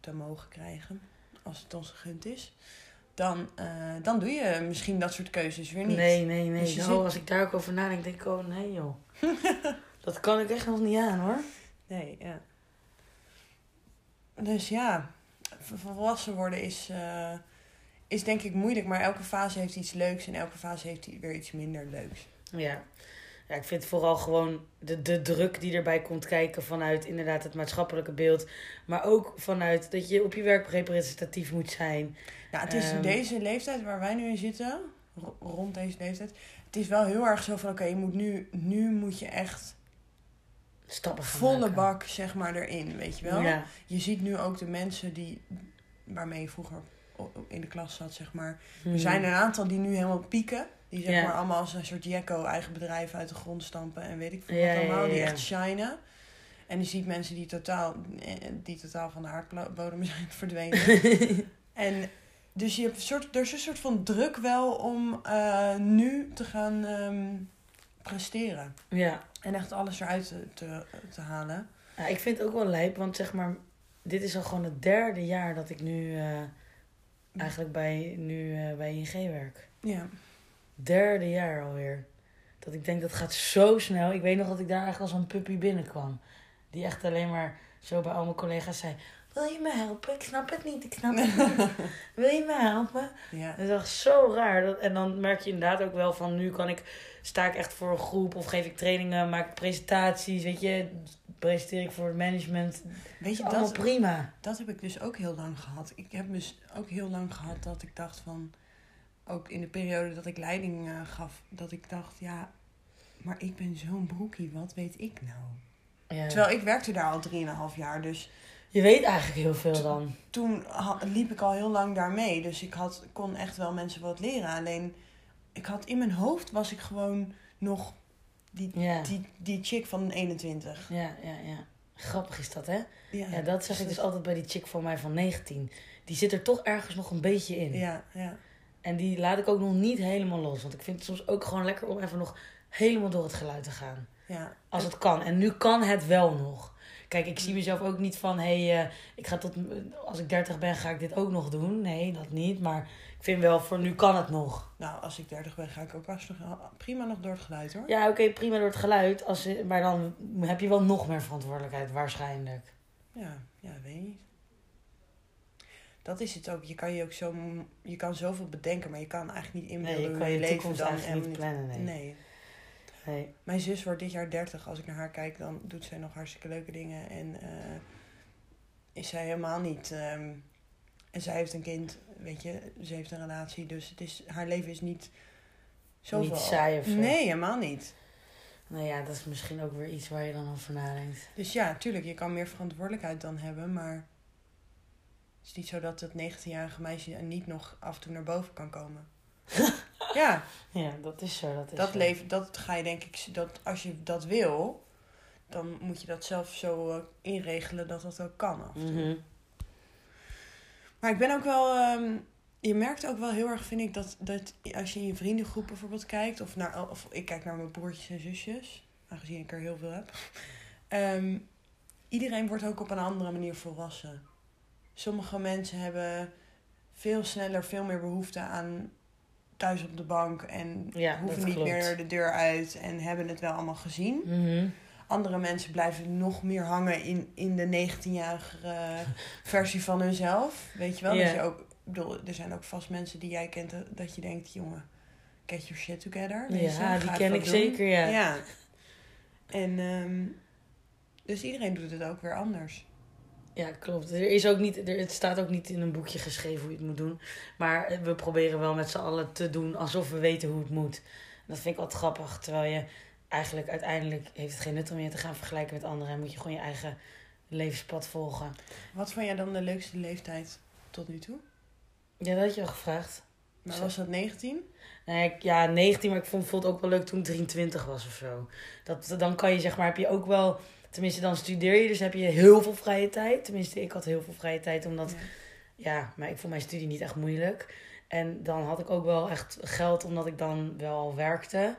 Speaker 2: te mogen krijgen, als het ons gegund is, dan, eh, dan doe je misschien dat soort keuzes weer niet.
Speaker 3: Nee, nee, nee.
Speaker 2: Dus je
Speaker 3: Zo,
Speaker 2: zit-
Speaker 3: Als ik daar ook over nadenk, denk ik, oh nee joh. dat kan ik echt nog niet aan hoor.
Speaker 2: Nee, ja. Dus ja, v- volwassen worden is, eh, is denk ik moeilijk, maar elke fase heeft iets leuks en elke fase heeft i- weer iets minder leuks.
Speaker 3: Ja. ja, ik vind vooral gewoon de, de druk die erbij komt kijken vanuit inderdaad het maatschappelijke beeld. Maar ook vanuit dat je op je werk representatief moet zijn.
Speaker 2: Ja, het is in
Speaker 3: Ehm.
Speaker 2: deze leeftijd waar wij nu in zitten, ro- rond deze leeftijd, het is wel heel erg zo van oké, je moet nu, nu moet je echt
Speaker 3: Stappen gaan
Speaker 2: volle
Speaker 3: maken.
Speaker 2: bak zeg maar erin, weet je wel?
Speaker 3: Ja,
Speaker 2: Je ziet nu ook de mensen die, waarmee je vroeger o- o- in de klas zat zeg maar,
Speaker 3: Mhm.
Speaker 2: Er zijn er een aantal die nu helemaal pieken. Die zeg
Speaker 3: Mm. Ja.
Speaker 2: maar allemaal als een soort jekko eigen bedrijven uit de grond stampen en weet ik veel
Speaker 3: Ja,
Speaker 2: wat allemaal.
Speaker 3: ja, ja,
Speaker 2: Die
Speaker 3: ja.
Speaker 2: echt shinen. En je ziet mensen die totaal, eh, die totaal van de aardbodem zijn verdwenen. en dus je hebt een soort, er is een soort van druk wel om eh, nu te gaan ehm, presteren.
Speaker 3: ja.
Speaker 2: En echt alles eruit te, te, te halen.
Speaker 3: Ja, ik vind het ook wel lijp, want zeg maar, dit is al gewoon het derde jaar dat ik nu eh,
Speaker 2: Mhm.
Speaker 3: eigenlijk bij, nu, eh, bij ING werk.
Speaker 2: Ja.
Speaker 3: Derde jaar alweer. Dat ik denk dat gaat zo snel. Ik weet nog dat ik daar echt als een puppy binnenkwam. Die echt alleen maar zo bij al mijn collega's zei: Wil je me helpen? Ik snap het niet. Ik snap het niet. Wil je me helpen?
Speaker 2: ja.
Speaker 3: Dat is echt zo raar. Dat, en dan merk je inderdaad ook wel van nu kan ik, sta ik echt voor een groep of geef ik trainingen, maak ik presentaties, weet je, presenteer ik voor het management.
Speaker 2: Weet je,
Speaker 3: Allemaal
Speaker 2: dat,
Speaker 3: prima.
Speaker 2: Dat heb ik dus ook heel lang gehad. Ik heb dus ook heel lang gehad dat ik dacht van... Ook in de periode dat ik leiding eh, gaf, dat ik dacht, ja... Maar ik ben zo'n broekie, wat weet ik nou?
Speaker 3: Ja.
Speaker 2: Terwijl ik werkte daar al 3,5 jaar, dus
Speaker 3: Je weet eigenlijk heel veel dan.
Speaker 2: toen ha- liep ik al heel lang daarmee. Dus ik had, kon echt wel mensen wat leren. Alleen, ik had in mijn hoofd was ik gewoon nog die,
Speaker 3: Ja.
Speaker 2: die, die chick van 21.
Speaker 3: Ja, ja, ja. Grappig is dat, hè?
Speaker 2: Ja,
Speaker 3: Ja, dat zeg ik dus altijd bij die chick van mij van 19. Die zit er toch ergens nog een beetje in.
Speaker 2: Ja, ja.
Speaker 3: En die laat ik ook nog niet helemaal los. Want ik vind het soms ook gewoon lekker om even nog helemaal door het geluid te gaan.
Speaker 2: ja.
Speaker 3: Als het kan. En nu kan het wel nog. Kijk, ik zie mezelf ook niet van, hé, hey, eh, ik ga tot, eh, als ik 30 ben, ga ik dit ook nog doen. Nee, dat niet. Maar ik vind wel, voor nu kan het nog.
Speaker 2: Nou, als ik 30 ben, ga ik ook alsnog, prima nog door het geluid, hoor.
Speaker 3: Ja, oké, prima door het geluid. Als, je- maar dan heb je wel nog meer verantwoordelijkheid, waarschijnlijk.
Speaker 2: Ja, ja, weet niet. Dat is het ook. Je kan je ook zo, je kan zoveel bedenken, maar je kan eigenlijk niet inbeelden
Speaker 3: Nee, je
Speaker 2: hoe
Speaker 3: kan je
Speaker 2: leven
Speaker 3: toekomst
Speaker 2: dan
Speaker 3: eigenlijk niet
Speaker 2: helemaal
Speaker 3: plannen.
Speaker 2: niet-
Speaker 3: Nee.
Speaker 2: Nee.
Speaker 3: Nee.
Speaker 2: Mijn zus wordt dit jaar 30. Als ik naar haar kijk, dan doet zij nog hartstikke leuke dingen en eh, is zij helemaal niet. ehm, en zij heeft een kind, weet je, ze heeft een relatie, dus het is, haar leven is niet zoveel.
Speaker 3: Niet saai of zo.
Speaker 2: Nee, helemaal niet.
Speaker 3: Nou ja, dat is misschien ook weer iets waar je dan over nadenkt.
Speaker 2: Dus ja, tuurlijk, je kan meer verantwoordelijkheid dan hebben, maar het is niet zo dat dat 19-jarige meisje er niet nog af en toe naar boven kan komen. ja,
Speaker 3: Ja, dat is zo. Dat, is
Speaker 2: dat
Speaker 3: zo.
Speaker 2: leven, dat ga je denk ik, dat als je dat wil, dan moet je dat zelf zo eh, inregelen dat dat ook kan. af en toe.
Speaker 3: Mhm.
Speaker 2: Maar ik ben ook wel, ehm, je merkt ook wel heel erg, vind ik, dat, dat als je in je vriendengroep bijvoorbeeld kijkt, of, naar, of ik kijk naar mijn broertjes en zusjes, aangezien ik er heel veel heb, ehm, iedereen wordt ook op een andere manier volwassen. Sommige mensen hebben veel sneller, veel meer behoefte aan thuis op de bank en
Speaker 3: Ja,
Speaker 2: hoeven
Speaker 3: dat
Speaker 2: niet
Speaker 3: klopt.
Speaker 2: meer de deur uit en hebben het wel allemaal gezien.
Speaker 3: Mhm.
Speaker 2: Andere mensen blijven nog meer hangen in, in de 19-jarige eh, versie van hunzelf. Weet je wel?
Speaker 3: Ja.
Speaker 2: Dat je ook, ik bedoel, er zijn ook vast mensen die jij kent eh, dat je denkt, jongen, get your shit together. weet je,
Speaker 3: Ja,
Speaker 2: ga
Speaker 3: die
Speaker 2: even
Speaker 3: ken
Speaker 2: wat
Speaker 3: ik
Speaker 2: doen.
Speaker 3: zeker, ja.
Speaker 2: Ja. En ehm, dus iedereen doet het ook weer anders.
Speaker 3: Ja, klopt. Er is ook niet, er, het staat ook niet in een boekje geschreven hoe je het moet doen. Maar eh, we proberen wel met z'n allen te doen alsof we weten hoe het moet. En dat vind ik altijd grappig. Terwijl je eigenlijk uiteindelijk heeft het geen nut om je te gaan vergelijken met anderen. En moet je gewoon je eigen levenspad volgen.
Speaker 2: Wat vond jij dan de leukste leeftijd tot nu toe?
Speaker 3: Ja, dat had je al gevraagd.
Speaker 2: Maar
Speaker 3: Zo.
Speaker 2: was dat 19?
Speaker 3: Nee, ik- Nou ja, 19, maar ik vond het ook wel leuk toen ik 23 was of zo. Dat, dan kan je zeg maar, heb je ook wel... Tenminste, dan studeer je, dus heb je heel veel vrije tijd. Tenminste, ik had heel veel vrije tijd, omdat...
Speaker 2: Ja.
Speaker 3: Ja, maar ik vond mijn studie niet echt moeilijk. En dan had ik ook wel echt geld, omdat ik dan wel werkte.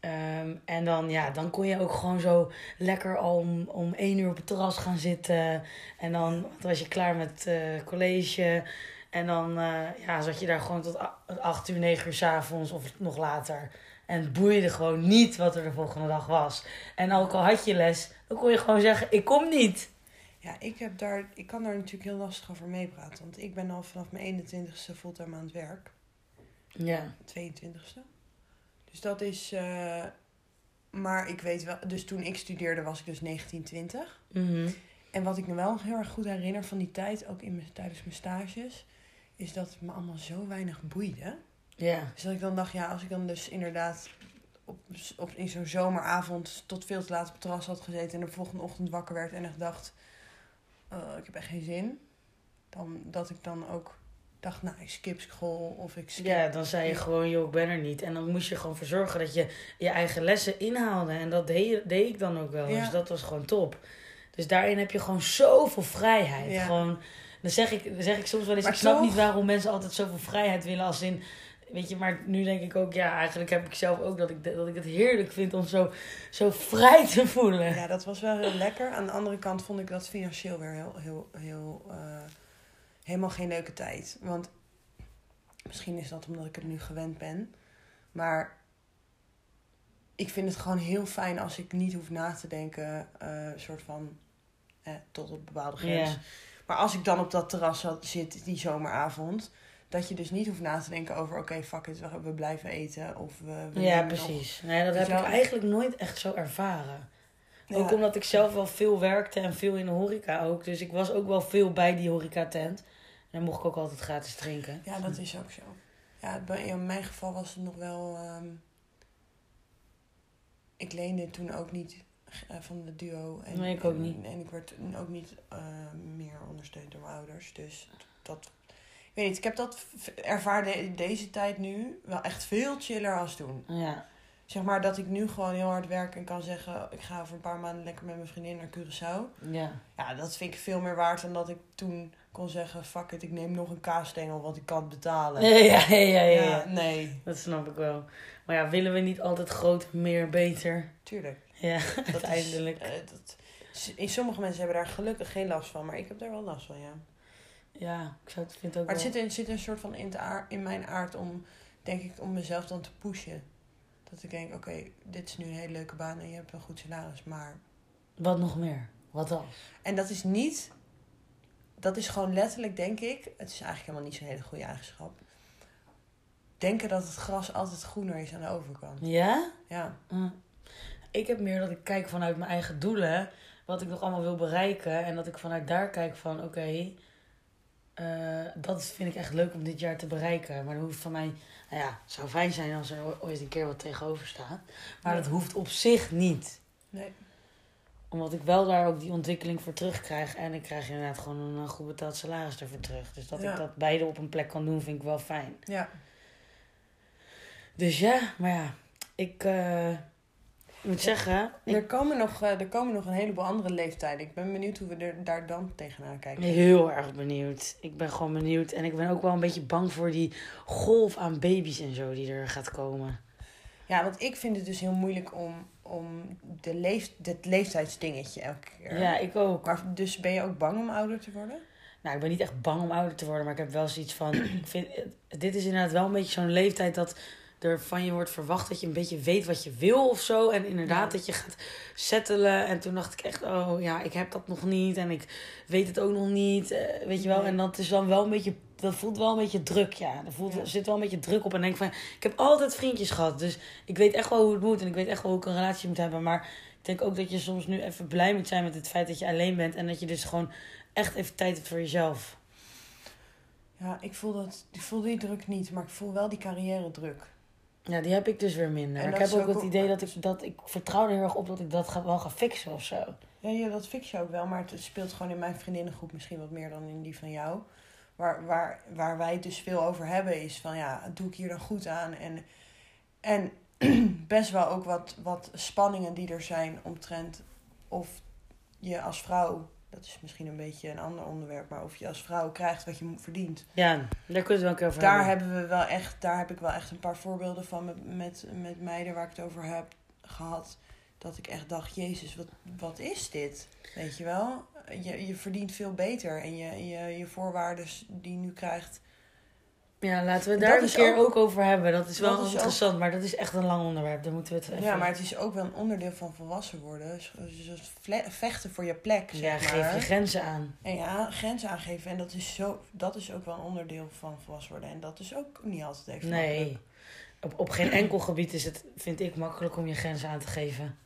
Speaker 3: Ehm, en dan, ja, dan kon je ook gewoon zo lekker al om, om één uur op het terras gaan zitten. En dan was je klaar met eh, college. En dan eh, ja, zat je daar gewoon tot a- 8 uur, 9 uur s'avonds of nog later. En het boeide gewoon niet wat er de volgende dag was. En ook al had je les, dan kon je gewoon zeggen: Ik kom niet.
Speaker 2: Ja, ik, heb daar, ik kan daar natuurlijk heel lastig over meepraten. Want ik ben al vanaf mijn 21ste fulltime aan het werk.
Speaker 3: Ja.
Speaker 2: 22ste. Dus dat is. eh, maar ik weet wel. Dus toen ik studeerde was ik dus 1920.
Speaker 3: Mhm.
Speaker 2: En wat ik me wel heel erg goed herinner van die tijd, ook in mijn, tijdens mijn stages, is dat het me allemaal zo weinig boeide.
Speaker 3: Ja.
Speaker 2: Dus dat ik dan dacht, ja, als ik dan dus inderdaad op, op, in zo'n zomeravond tot veel te laat op het terras had gezeten en de volgende ochtend wakker werd en echt dacht, eh, ik heb echt geen zin. Dan, dat ik dan ook dacht, nou, ik skip school of ik skip
Speaker 3: ja, dan zei je gewoon: Joh, ik ben er niet. En dan moest je gewoon voor zorgen dat je je eigen lessen inhaalde. En dat deed, je- deed ik dan ook wel.
Speaker 2: Ja.
Speaker 3: Dus dat was gewoon top. Dus daarin heb je gewoon zoveel vrijheid.
Speaker 2: Ja.
Speaker 3: Gewoon, dan, zeg ik, dan zeg ik soms wel eens:
Speaker 2: Maar
Speaker 3: Ik snap
Speaker 2: toch-
Speaker 3: niet waarom mensen altijd zoveel vrijheid willen. Als in, weet je, maar nu denk ik ook: Ja, eigenlijk heb ik zelf ook dat ik, dat ik het heerlijk vind om zo, zo vrij te voelen.
Speaker 2: Ja, dat was wel heel lekker. Aan de andere kant vond ik dat financieel weer heel, heel, heel eh, helemaal geen leuke tijd. Want misschien is dat omdat ik het nu gewend ben. Maar ik vind het gewoon heel fijn als ik niet hoef na te denken, eh soort van eh, tot op bepaalde grens.
Speaker 3: Ja.
Speaker 2: Maar als ik dan op dat terras zat- zit die zomeravond, dat je dus niet hoeft na te denken over: oké, fuck it, we, we blijven eten. Of we, we
Speaker 3: Ja,
Speaker 2: nemen nog-
Speaker 3: precies. Nee, dat
Speaker 2: Dus
Speaker 3: heb ik
Speaker 2: jou-
Speaker 3: eigenlijk nooit echt zo ervaren.
Speaker 2: Ja.
Speaker 3: Ook omdat ik zelf wel veel werkte en veel in de horeca ook. Dus ik was ook wel veel bij die horecatent. En dan mocht ik ook altijd gratis drinken.
Speaker 2: Ja, dat is ook zo. Ja, bij- in mijn geval was het nog wel. ehm, ik leende toen ook niet eh, van de duo. En,
Speaker 3: Nee, ik ook
Speaker 2: en-
Speaker 3: niet.
Speaker 2: En ik werd ook niet eh, meer ondersteund door mijn ouders. Dus dat. Ik weet niet, ik heb dat v- ervaarde in deze tijd nu wel echt veel chiller als toen.
Speaker 3: Oh Ja,
Speaker 2: Zeg maar dat ik nu gewoon heel hard werk en kan zeggen: ik ga over een paar maanden lekker met mijn vriendin naar Curaçao.
Speaker 3: ja.
Speaker 2: Ja, dat vind ik veel meer waard dan dat ik toen kon zeggen: fuck it, ik neem nog een kaasstengel, want ik kan het betalen.
Speaker 3: Ja, ja, ja, ja, ja.
Speaker 2: Ja, nee.
Speaker 3: Dat snap ik wel. Maar ja, willen we niet altijd groot, meer, beter?
Speaker 2: Tuurlijk.
Speaker 3: Ja,
Speaker 2: Dat is,
Speaker 3: uiteindelijk.
Speaker 2: eh, dat, s- in sommige mensen hebben daar gelukkig geen last van, maar ik heb daar wel last van, ja.
Speaker 3: Ja, ik zou het vind ook
Speaker 2: Maar het
Speaker 3: wel...
Speaker 2: zit, het zit een soort van in, de aard- in mijn aard om, denk ik, om mezelf dan te pushen. Dat ik denk, oké, dit is nu een hele leuke baan en je hebt een goed salaris, maar...
Speaker 3: Wat nog meer? Wat dan?
Speaker 2: En dat is niet... Dat is gewoon letterlijk, denk ik... Het is eigenlijk helemaal niet zo'n hele goede eigenschap. Denken dat het gras altijd groener is aan de overkant.
Speaker 3: Ja?
Speaker 2: Ja,
Speaker 3: Mm. Ik heb meer dat ik kijk vanuit mijn eigen doelen, wat ik nog allemaal wil bereiken. En dat ik vanuit daar kijk van, oké, eh, dat vind ik echt leuk om dit jaar te bereiken. Maar dat hoeft van mij, nou ja, het zou fijn zijn als er o- ooit een keer wat tegenover staat. Maar
Speaker 2: Ja.
Speaker 3: dat hoeft op zich niet.
Speaker 2: nee.
Speaker 3: Omdat ik wel daar ook die ontwikkeling voor terugkrijg. En ik krijg inderdaad gewoon een eh, goed betaald salaris ervoor terug. Dus dat
Speaker 2: Ja.
Speaker 3: ik dat beide op een plek kan doen, vind ik wel fijn.
Speaker 2: Ja,
Speaker 3: Dus ja, maar ja, ik eh, moet zeggen... ik-
Speaker 2: Er komen, nog, eh, er komen nog een heleboel andere leeftijden. Ik ben benieuwd hoe we er, daar dan tegenaan kijken.
Speaker 3: Heel erg benieuwd. Ik ben gewoon benieuwd. En ik ben ook wel een beetje bang voor die golf aan baby's en zo die er gaat komen.
Speaker 2: Ja, want ik vind het dus heel moeilijk om, om de leef, dit leeftijdsdingetje elke keer.
Speaker 3: Ja, ik ook.
Speaker 2: Maar dus ben je ook bang om ouder te worden?
Speaker 3: Nou, ik ben niet echt bang om ouder te worden, maar ik heb wel zoiets van. Ik vind, eh, dit is inderdaad wel een beetje zo'n leeftijd dat er van je wordt verwacht dat je een beetje weet wat je wil of zo. En inderdaad
Speaker 2: Ja.
Speaker 3: dat je gaat settelen. En toen dacht ik echt, oh ja, ik heb dat nog niet. En ik weet het ook nog niet. eh, weet je wel.
Speaker 2: Nee.
Speaker 3: En dat is dan wel een beetje. Dat voelt wel een beetje druk, ja. Er voelt,
Speaker 2: Ja.
Speaker 3: zit wel een beetje druk op. En denk van, ik heb altijd vriendjes gehad. Dus ik weet echt wel hoe het moet. En ik weet echt wel hoe ik een relatie moet hebben. Maar ik denk ook dat je soms nu even blij moet zijn met het feit dat je alleen bent. En dat je dus gewoon echt even tijd hebt voor jezelf.
Speaker 2: Ja, ik voel, dat, ik voel die druk niet, maar ik voel wel die carrière druk.
Speaker 3: Ja, die heb ik dus weer minder.
Speaker 2: En
Speaker 3: ik
Speaker 2: dat
Speaker 3: heb
Speaker 2: is
Speaker 3: ook
Speaker 2: ook
Speaker 3: het
Speaker 2: op-
Speaker 3: idee dat ik, dat ik vertrouw er heel erg op dat ik dat ga, wel ga fixen of zo.
Speaker 2: Ja, ja, dat fix je ook wel, maar het speelt gewoon in mijn vriendinnengroep misschien wat meer dan in die van jou. Waar, waar, waar wij het dus veel over hebben is van ja, doe ik hier dan goed aan? En, en best wel ook wat, wat spanningen die er zijn omtrent of je als vrouw, dat is misschien een beetje een ander onderwerp, maar of je als vrouw krijgt wat je mo- verdient.
Speaker 3: Ja, daar kunnen we het wel een keer over
Speaker 2: Daar
Speaker 3: hebben.
Speaker 2: hebben we wel echt, daar heb ik wel echt een paar voorbeelden van met, met, met meiden waar ik het over heb gehad. dat ik echt dacht, Jezus, wat, wat is dit? Weet je wel? Je, je verdient veel beter en je, je, je voorwaarden die je nu krijgt.
Speaker 3: Ja, laten we het
Speaker 2: Dat
Speaker 3: daar een
Speaker 2: is
Speaker 3: keer
Speaker 2: ook-
Speaker 3: ook, over hebben. Dat is wel
Speaker 2: Dat is ook-
Speaker 3: interessant, maar dat is echt een lang onderwerp. Daar moeten we het even...
Speaker 2: Ja, maar het is ook wel een onderdeel van volwassen worden. Zo- zo- zo vle- vechten voor je plek, zeg
Speaker 3: Ja,
Speaker 2: maar.
Speaker 3: geef je grenzen aan.
Speaker 2: En ja, grenzen aangeven. En dat is, zo, dat is ook wel een onderdeel van volwassen worden. En dat is ook niet altijd even
Speaker 3: Nee.
Speaker 2: makkelijk.
Speaker 3: Op, op geen enkel gebied is het, vind ik, makkelijk om je grenzen aan te geven.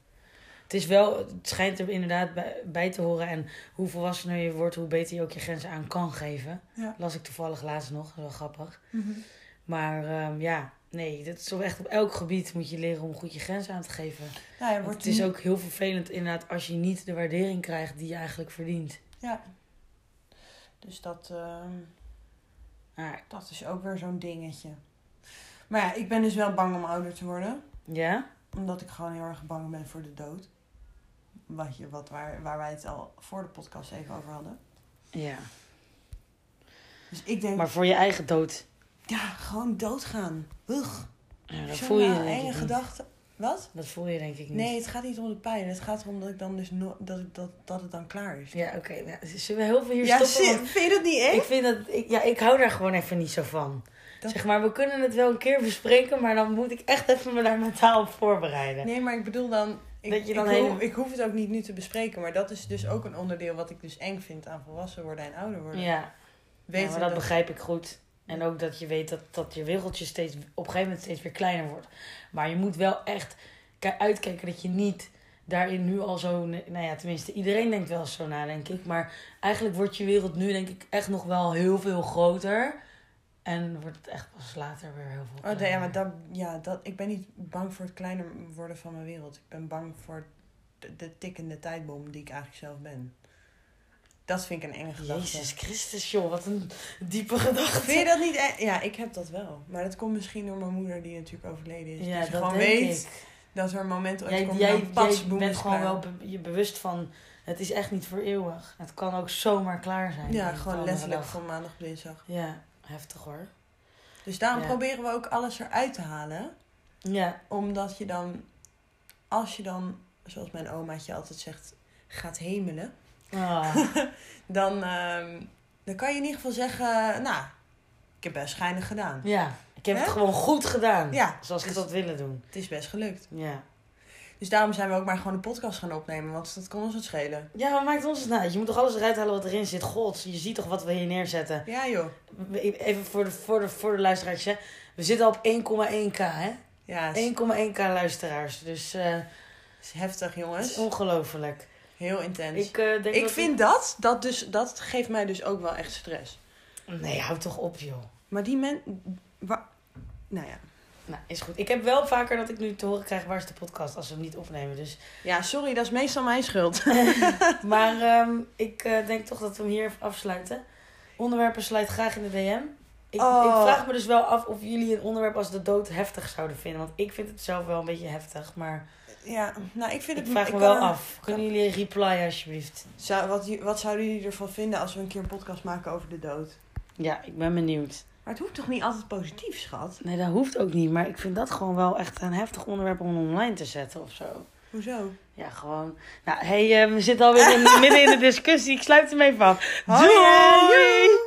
Speaker 3: Het is wel, het schijnt er inderdaad bij, bij te horen. En hoe volwassener je wordt, hoe beter je ook je grenzen aan kan geven.
Speaker 2: Ja. Mhm.
Speaker 3: Las ik toevallig laatst nog, dat is wel grappig. Maar ehm, ja, nee, dat is op echt op elk gebied moet je leren om goed je grenzen aan te geven.
Speaker 2: Nou, ja,
Speaker 3: Want
Speaker 2: wordt
Speaker 3: het is ook heel vervelend inderdaad als je niet de waardering krijgt die je eigenlijk verdient.
Speaker 2: Ja. Dus dat, ehm,
Speaker 3: Maar,
Speaker 2: dat is ook weer zo'n dingetje. Maar ja, ik ben dus wel bang om ouder te worden.
Speaker 3: ja?
Speaker 2: Omdat ik gewoon heel erg bang ben voor de dood. Wat je, wat, waar, waar wij het al voor de podcast even over hadden.
Speaker 3: Ja.
Speaker 2: Dus ik denk,
Speaker 3: Maar voor je eigen dood,
Speaker 2: ja, gewoon doodgaan. Ugh.
Speaker 3: ja, dat
Speaker 2: Zo'n
Speaker 3: voel je
Speaker 2: na-
Speaker 3: denk
Speaker 2: enge
Speaker 3: ik niet.
Speaker 2: gedachte. Wat?
Speaker 3: Dat voel je denk ik niet.
Speaker 2: nou Nee, het gaat niet om de pijn. Het gaat erom dat, ik dan dus no- dat, ik- dat, dat het dan klaar is.
Speaker 3: Ja, oké. nou, zullen we heel veel hier
Speaker 2: Ja,
Speaker 3: stoppen?
Speaker 2: zie-
Speaker 3: Want
Speaker 2: vind je dat niet
Speaker 3: Ik
Speaker 2: eng?
Speaker 3: vind dat... Ik, ja, ik hou daar gewoon even niet zo van.
Speaker 2: Dat-
Speaker 3: Zeg maar, we kunnen het wel een keer bespreken, maar dan moet ik echt even me daar mentaal op voorbereiden.
Speaker 2: Nee, maar ik bedoel dan... Ik,
Speaker 3: Dat je dan
Speaker 2: ik, hoef-
Speaker 3: helemaal-
Speaker 2: ik hoef het ook niet nu te bespreken. Maar dat is dus ook een onderdeel wat ik dus eng vind aan volwassen worden en ouder worden.
Speaker 3: Ja,
Speaker 2: Weten
Speaker 3: ja, maar dat, begrijp ik goed. En ook dat je weet dat, dat je wereldje steeds, op een gegeven moment steeds weer kleiner wordt. Maar je moet wel echt ki- uitkijken dat je niet daarin nu al zo... ne- Nou ja, tenminste, iedereen denkt wel eens zo na, denk ik. Maar eigenlijk wordt je wereld nu, denk ik, echt nog wel heel veel groter. En wordt het echt pas later weer heel veel
Speaker 2: Oh,
Speaker 3: kleiner.
Speaker 2: nee, ja, maar dat, ja, dat, ik ben niet bang voor het kleiner worden van mijn wereld. Ik ben bang voor de, de tikkende tijdbom die ik eigenlijk zelf ben. Dat vind ik een enge gedachte.
Speaker 3: Jezus Christus, joh, wat een diepe gedachte.
Speaker 2: Vind je dat niet e- Ja, ik heb dat wel. Maar dat komt misschien door mijn moeder die natuurlijk overleden is.
Speaker 3: ja,
Speaker 2: dat
Speaker 3: dat
Speaker 2: ze gewoon
Speaker 3: denk
Speaker 2: weet
Speaker 3: ik.
Speaker 2: dat er een moment ooit
Speaker 3: Jij,
Speaker 2: komt
Speaker 3: jij,
Speaker 2: dan pats,
Speaker 3: jij
Speaker 2: boem,
Speaker 3: bent
Speaker 2: is
Speaker 3: gewoon
Speaker 2: klaar.
Speaker 3: wel be- je bewust van, het is echt niet voor eeuwig. Het kan ook zomaar klaar zijn.
Speaker 2: Ja,
Speaker 3: de
Speaker 2: gewoon
Speaker 3: andere
Speaker 2: letterlijk
Speaker 3: dag.
Speaker 2: van maandag op dinsdag.
Speaker 3: Ja, heftig hoor.
Speaker 2: Dus daarom
Speaker 3: Ja.
Speaker 2: proberen we ook alles eruit te halen.
Speaker 3: Ja,
Speaker 2: Omdat je dan, als je dan, zoals mijn omaatje altijd zegt, gaat hemelen.
Speaker 3: Ah,
Speaker 2: dan, ehm, dan kan je in ieder geval zeggen, nou, ik heb best schijnig gedaan.
Speaker 3: ja. ik heb
Speaker 2: Hè?
Speaker 3: het gewoon goed gedaan.
Speaker 2: Ja.
Speaker 3: Zoals ik dat willen doen.
Speaker 2: Het is best gelukt.
Speaker 3: Ja.
Speaker 2: Dus daarom zijn we ook maar gewoon een podcast gaan opnemen, want dat kon ons wat schelen.
Speaker 3: Ja, wat maakt ons het nou? uit? Je moet toch alles eruit halen wat erin zit. God, je ziet toch wat we hier neerzetten. e-,
Speaker 2: Ja joh.
Speaker 3: Even voor de, voor de, voor de luisteraars, hè. We zitten al op 1,1k, hè?
Speaker 2: Ja, het is,
Speaker 3: 1,1k luisteraars. Dus eh,
Speaker 2: het is heftig
Speaker 3: het
Speaker 2: jongens.
Speaker 3: is ongelooflijk.
Speaker 2: Heel intens. Ik,
Speaker 3: Ik, eh, denk dat
Speaker 2: vind dat, dat, dus, dat geeft mij dus ook wel echt stress.
Speaker 3: Nee, hou toch op, joh.
Speaker 2: Maar die men... wa- Nou ja.
Speaker 3: Nou, is goed. Ik heb wel vaker dat ik nu te horen krijg waar is de podcast als we hem niet opnemen. Dus.
Speaker 2: Ja, sorry, dat is meestal mijn schuld.
Speaker 3: Maar ehm, ik eh, denk toch dat we hem hier even afsluiten. Onderwerpen sluit graag in de DM. Ik,
Speaker 2: Oh.
Speaker 3: ik vraag me dus wel af of jullie een onderwerp als de dood heftig zouden vinden. Want ik vind het zelf wel een beetje heftig. Maar
Speaker 2: Ja, nou ik vind
Speaker 3: ik
Speaker 2: het...
Speaker 3: vraag me
Speaker 2: kan
Speaker 3: wel
Speaker 2: er-
Speaker 3: af. Kunnen jullie een reply alsjeblieft?
Speaker 2: Zou, wat, wat zouden jullie ervan vinden als we een keer een podcast maken over de dood?
Speaker 3: Ja, ik ben benieuwd.
Speaker 2: Maar het hoeft toch niet altijd positief, schat?
Speaker 3: Nee, dat hoeft ook niet. Maar ik vind dat gewoon wel echt een heftig onderwerp om online te zetten of zo.
Speaker 2: Hoezo?
Speaker 3: Ja, gewoon. Nou, hey, eh, we zitten alweer in, midden in de discussie. Ik sluit hem even af.
Speaker 2: Hoi, hè,
Speaker 3: Doei!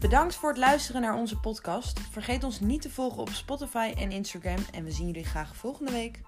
Speaker 2: Bedankt voor het luisteren naar onze podcast. Vergeet ons niet te volgen op Spotify en Instagram. En we zien jullie graag volgende week.